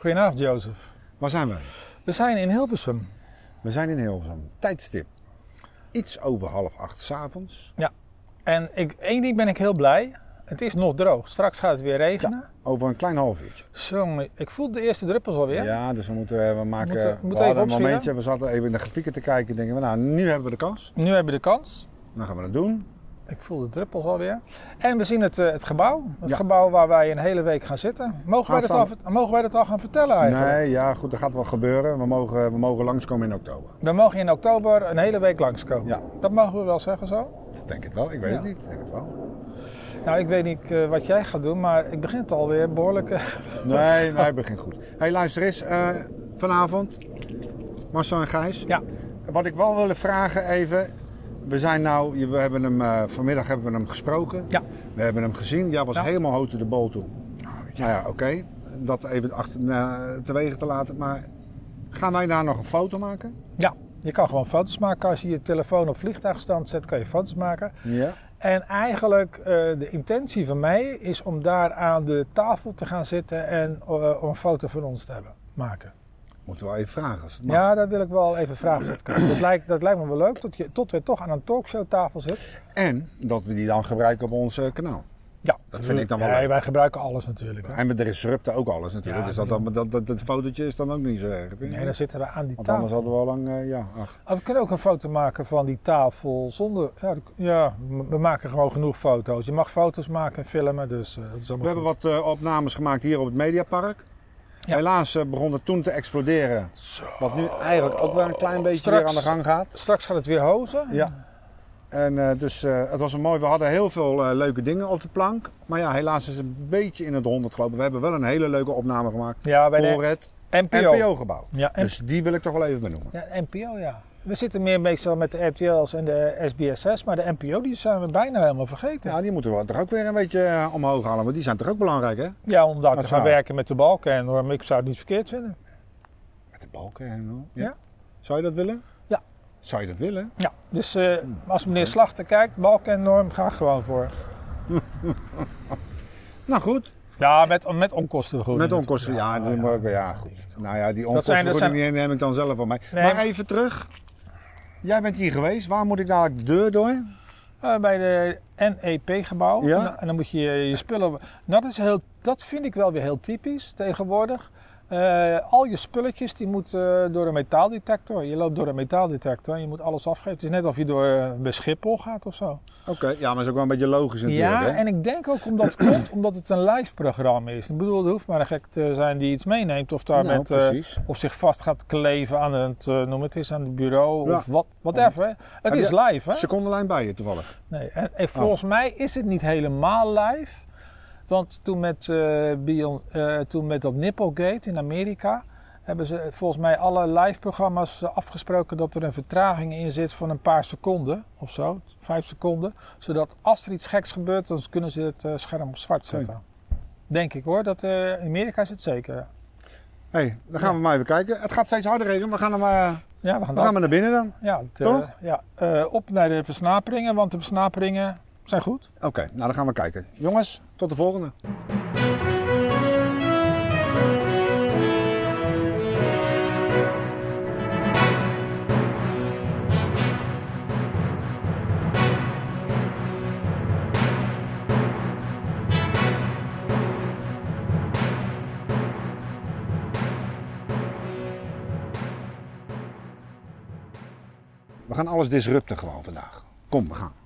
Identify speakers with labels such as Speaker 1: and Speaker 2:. Speaker 1: Goedenavond, Jozef.
Speaker 2: Waar zijn we?
Speaker 1: We zijn in Hilversum.
Speaker 2: We zijn in Hilversum. Tijdstip. Iets over half acht s'avonds.
Speaker 1: En ik, één ding ben ik heel blij. Het is nog droog. Straks gaat het weer regenen.
Speaker 2: Over een klein half uurtje.
Speaker 1: Jongen, ik voel de eerste druppels alweer.
Speaker 2: Ja, dus we moeten, eh, we maken,
Speaker 1: Moeten-
Speaker 2: we
Speaker 1: moeten
Speaker 2: hadden
Speaker 1: even
Speaker 2: een
Speaker 1: opschieten.
Speaker 2: momentje, we zaten even in de grafieken te kijken en denken we, nou nu hebben we de kans.
Speaker 1: Nu hebben we de kans.
Speaker 2: Dan gaan we dat doen.
Speaker 1: Ik voel de druppels alweer. En we zien het, eh, het gebouw. Het
Speaker 2: Ja.
Speaker 1: gebouw waar wij een hele week gaan zitten. Mogen, wij dat, al,
Speaker 2: Aanstaande-
Speaker 1: ver- mogen wij dat al gaan vertellen eigenlijk?
Speaker 2: Nee, Ah, ja goed, dat gaat wel gebeuren. We mogen, we mogen langskomen in oktober.
Speaker 1: We mogen in oktober een hele week langskomen.
Speaker 2: Ja.
Speaker 1: Dat mogen we wel zeggen zo.
Speaker 2: Ik denk het wel, ik weet
Speaker 1: Ja.
Speaker 2: het niet. Ik denk het wel.
Speaker 1: Nou, ik weet niet eh, wat jij gaat doen, maar ik begin het alweer behoorlijk. eh,
Speaker 2: Nee, nee, het begint goed. hey, luister eens, eh, vanavond, Marcel en Gijs.
Speaker 1: ja.
Speaker 2: Wat ik wel wil vragen even. We zijn nou, je- we hebben hem, eh, vanmiddag hebben we hem gesproken.
Speaker 1: Ja.
Speaker 2: We hebben hem gezien. Jij was
Speaker 1: Ja. Oh,
Speaker 2: helemaal hoog de bol toe. Nou ja, oké. Dat even achter, na- teweeg te laten. Maar gaan wij daar nog een foto maken?
Speaker 1: ja, je kan gewoon foto's maken. Als je je telefoon op vliegtuigstand zet, kan je foto's maken.
Speaker 2: Ja.
Speaker 1: En eigenlijk eh, de intentie van mij is om daar aan de tafel te gaan zitten en eh, om een foto van ons te hebben maken.
Speaker 2: Moeten we wel even vragen. Als het mag.
Speaker 1: Ja, dat wil ik wel even vragen. of dat kan. Dat lijkt, dat lijkt me wel leuk, tot, je, tot we toch aan een talkshowtafel zitten.
Speaker 2: En dat we die dan gebruiken op ons eh, kanaal.
Speaker 1: Ja,
Speaker 2: Dat vind ik dan wel
Speaker 1: Nee,
Speaker 2: leuk.
Speaker 1: wij gebruiken alles natuurlijk. hè.
Speaker 2: En we disrupten ook alles natuurlijk.
Speaker 1: Ja,
Speaker 2: dus dat, dat, dat, dat, dat fotootje is dan ook niet zo erg. vind je
Speaker 1: Nee,
Speaker 2: niet?
Speaker 1: dan zitten we aan die
Speaker 2: Want anders
Speaker 1: tafel.
Speaker 2: hadden we al lang, eh, ja, ach.
Speaker 1: Oh, we kunnen ook een foto maken van die tafel zonder... Ja, dat- ja, m- we maken gewoon genoeg foto's. Je mag foto's maken en filmen, dus eh, dat is
Speaker 2: We
Speaker 1: allemaal
Speaker 2: hebben wat eh, opnames gemaakt hier op het Mediapark.
Speaker 1: Ja.
Speaker 2: Helaas eh, begon het toen te exploderen. Wat nu eigenlijk ook wel een klein beetje
Speaker 1: Straks.
Speaker 2: weer aan de gang gaat.
Speaker 1: Straks gaat het weer hozen.
Speaker 2: Ja. En eh, dus eh, het was een mooi. We hadden heel veel eh, leuke dingen op de plank. Maar ja, helaas is het een beetje in het honderd gelopen. We hebben wel een hele leuke opname gemaakt
Speaker 1: Ja, bij
Speaker 2: voor
Speaker 1: de
Speaker 2: het
Speaker 1: NPO.
Speaker 2: NPO-gebouw.
Speaker 1: Ja, en-
Speaker 2: Dus die wil ik toch wel even benoemen.
Speaker 1: Ja, NPO, ja. We zitten meer meestal met de RTL's en de SBSS, maar de NPO die zijn we bijna helemaal vergeten. Ja,
Speaker 2: Ja, die moeten we toch ook weer een beetje eh, omhoog halen. Want die zijn toch ook belangrijk, hè?
Speaker 1: om daar te
Speaker 2: Nationaal.
Speaker 1: gaan werken met de balken en hoor, maar ik zou het niet verkeerd vinden.
Speaker 2: Met de balken en hoor.
Speaker 1: Ja.
Speaker 2: Zou je dat willen?
Speaker 1: Ja.
Speaker 2: Zou je dat willen?
Speaker 1: Ja, dus eh, als meneer Slachter kijkt, balken en norm, ga gewoon voor.
Speaker 2: Nou goed.
Speaker 1: Ja, met, met onkostenvergoeding.
Speaker 2: Met onkosten, ja,
Speaker 1: natuurlijk.
Speaker 2: dat moet ook- ja,
Speaker 1: dat is niet.
Speaker 2: goed. Nou ja, die
Speaker 1: Dat zijn- dat
Speaker 2: onkosten neem ik dan zelf van mij.
Speaker 1: Nee,
Speaker 2: maar
Speaker 1: maar-
Speaker 2: even terug. Jij bent hier geweest. Waar moet ik dadelijk de deur door?
Speaker 1: Eh, bij de NEP-gebouw.
Speaker 2: Ja.
Speaker 1: En, dan- en dan moet je je spullen. Nou, dat, is heel, dat vind ik wel weer heel typisch tegenwoordig. Eh, al je spulletjes die moeten eh, door een metaaldetector. Je loopt door een metaaldetector en je moet alles afgeven. Het is net of je door eh, bij Schiphol gaat of zo.
Speaker 2: Oké, ja, maar is ook wel een beetje logisch natuurlijk.
Speaker 1: Ja,
Speaker 2: hè?
Speaker 1: en ik denk ook omdat het komt omdat het een live programma is. Ik bedoel, er hoeft maar een gek te zijn die iets meeneemt of daar
Speaker 2: Nou,
Speaker 1: met, eh,
Speaker 2: precies.
Speaker 1: of zich vast gaat kleven aan het, eh, noem het eens, aan het bureau
Speaker 2: Ja.
Speaker 1: of wat, whatever. hè. Het
Speaker 2: Heb
Speaker 1: is
Speaker 2: je-
Speaker 1: live, hè?
Speaker 2: Secondenlijn bij je toevallig.
Speaker 1: Nee, en, en volgens mij is het niet helemaal live. Want toen met, eh, Bion, eh, toen met dat Nipplegate in Amerika hebben ze volgens mij alle live programma's eh, afgesproken dat er een vertraging in zit van een paar seconden of zo, vijf seconden. Zodat als er iets geks gebeurt, dan kunnen ze het eh, scherm op zwart zetten. Denk ik hoor, dat eh, in Amerika is het zeker.
Speaker 2: Hé, hey, dan gaan we maar even kijken. Het gaat steeds harder regenen. We gaan, hem, eh,
Speaker 1: Ja, we gaan,
Speaker 2: we gaan
Speaker 1: dat,
Speaker 2: maar naar binnen dan.
Speaker 1: ja, het, eh,
Speaker 2: Toch?
Speaker 1: ja, eh, op naar de versnaperingen, want de versnaperingen zijn goed.
Speaker 2: Oké, nou dan gaan we kijken. Jongens, tot de volgende. We gaan alles disrupten gewoon vandaag. Kom, we gaan.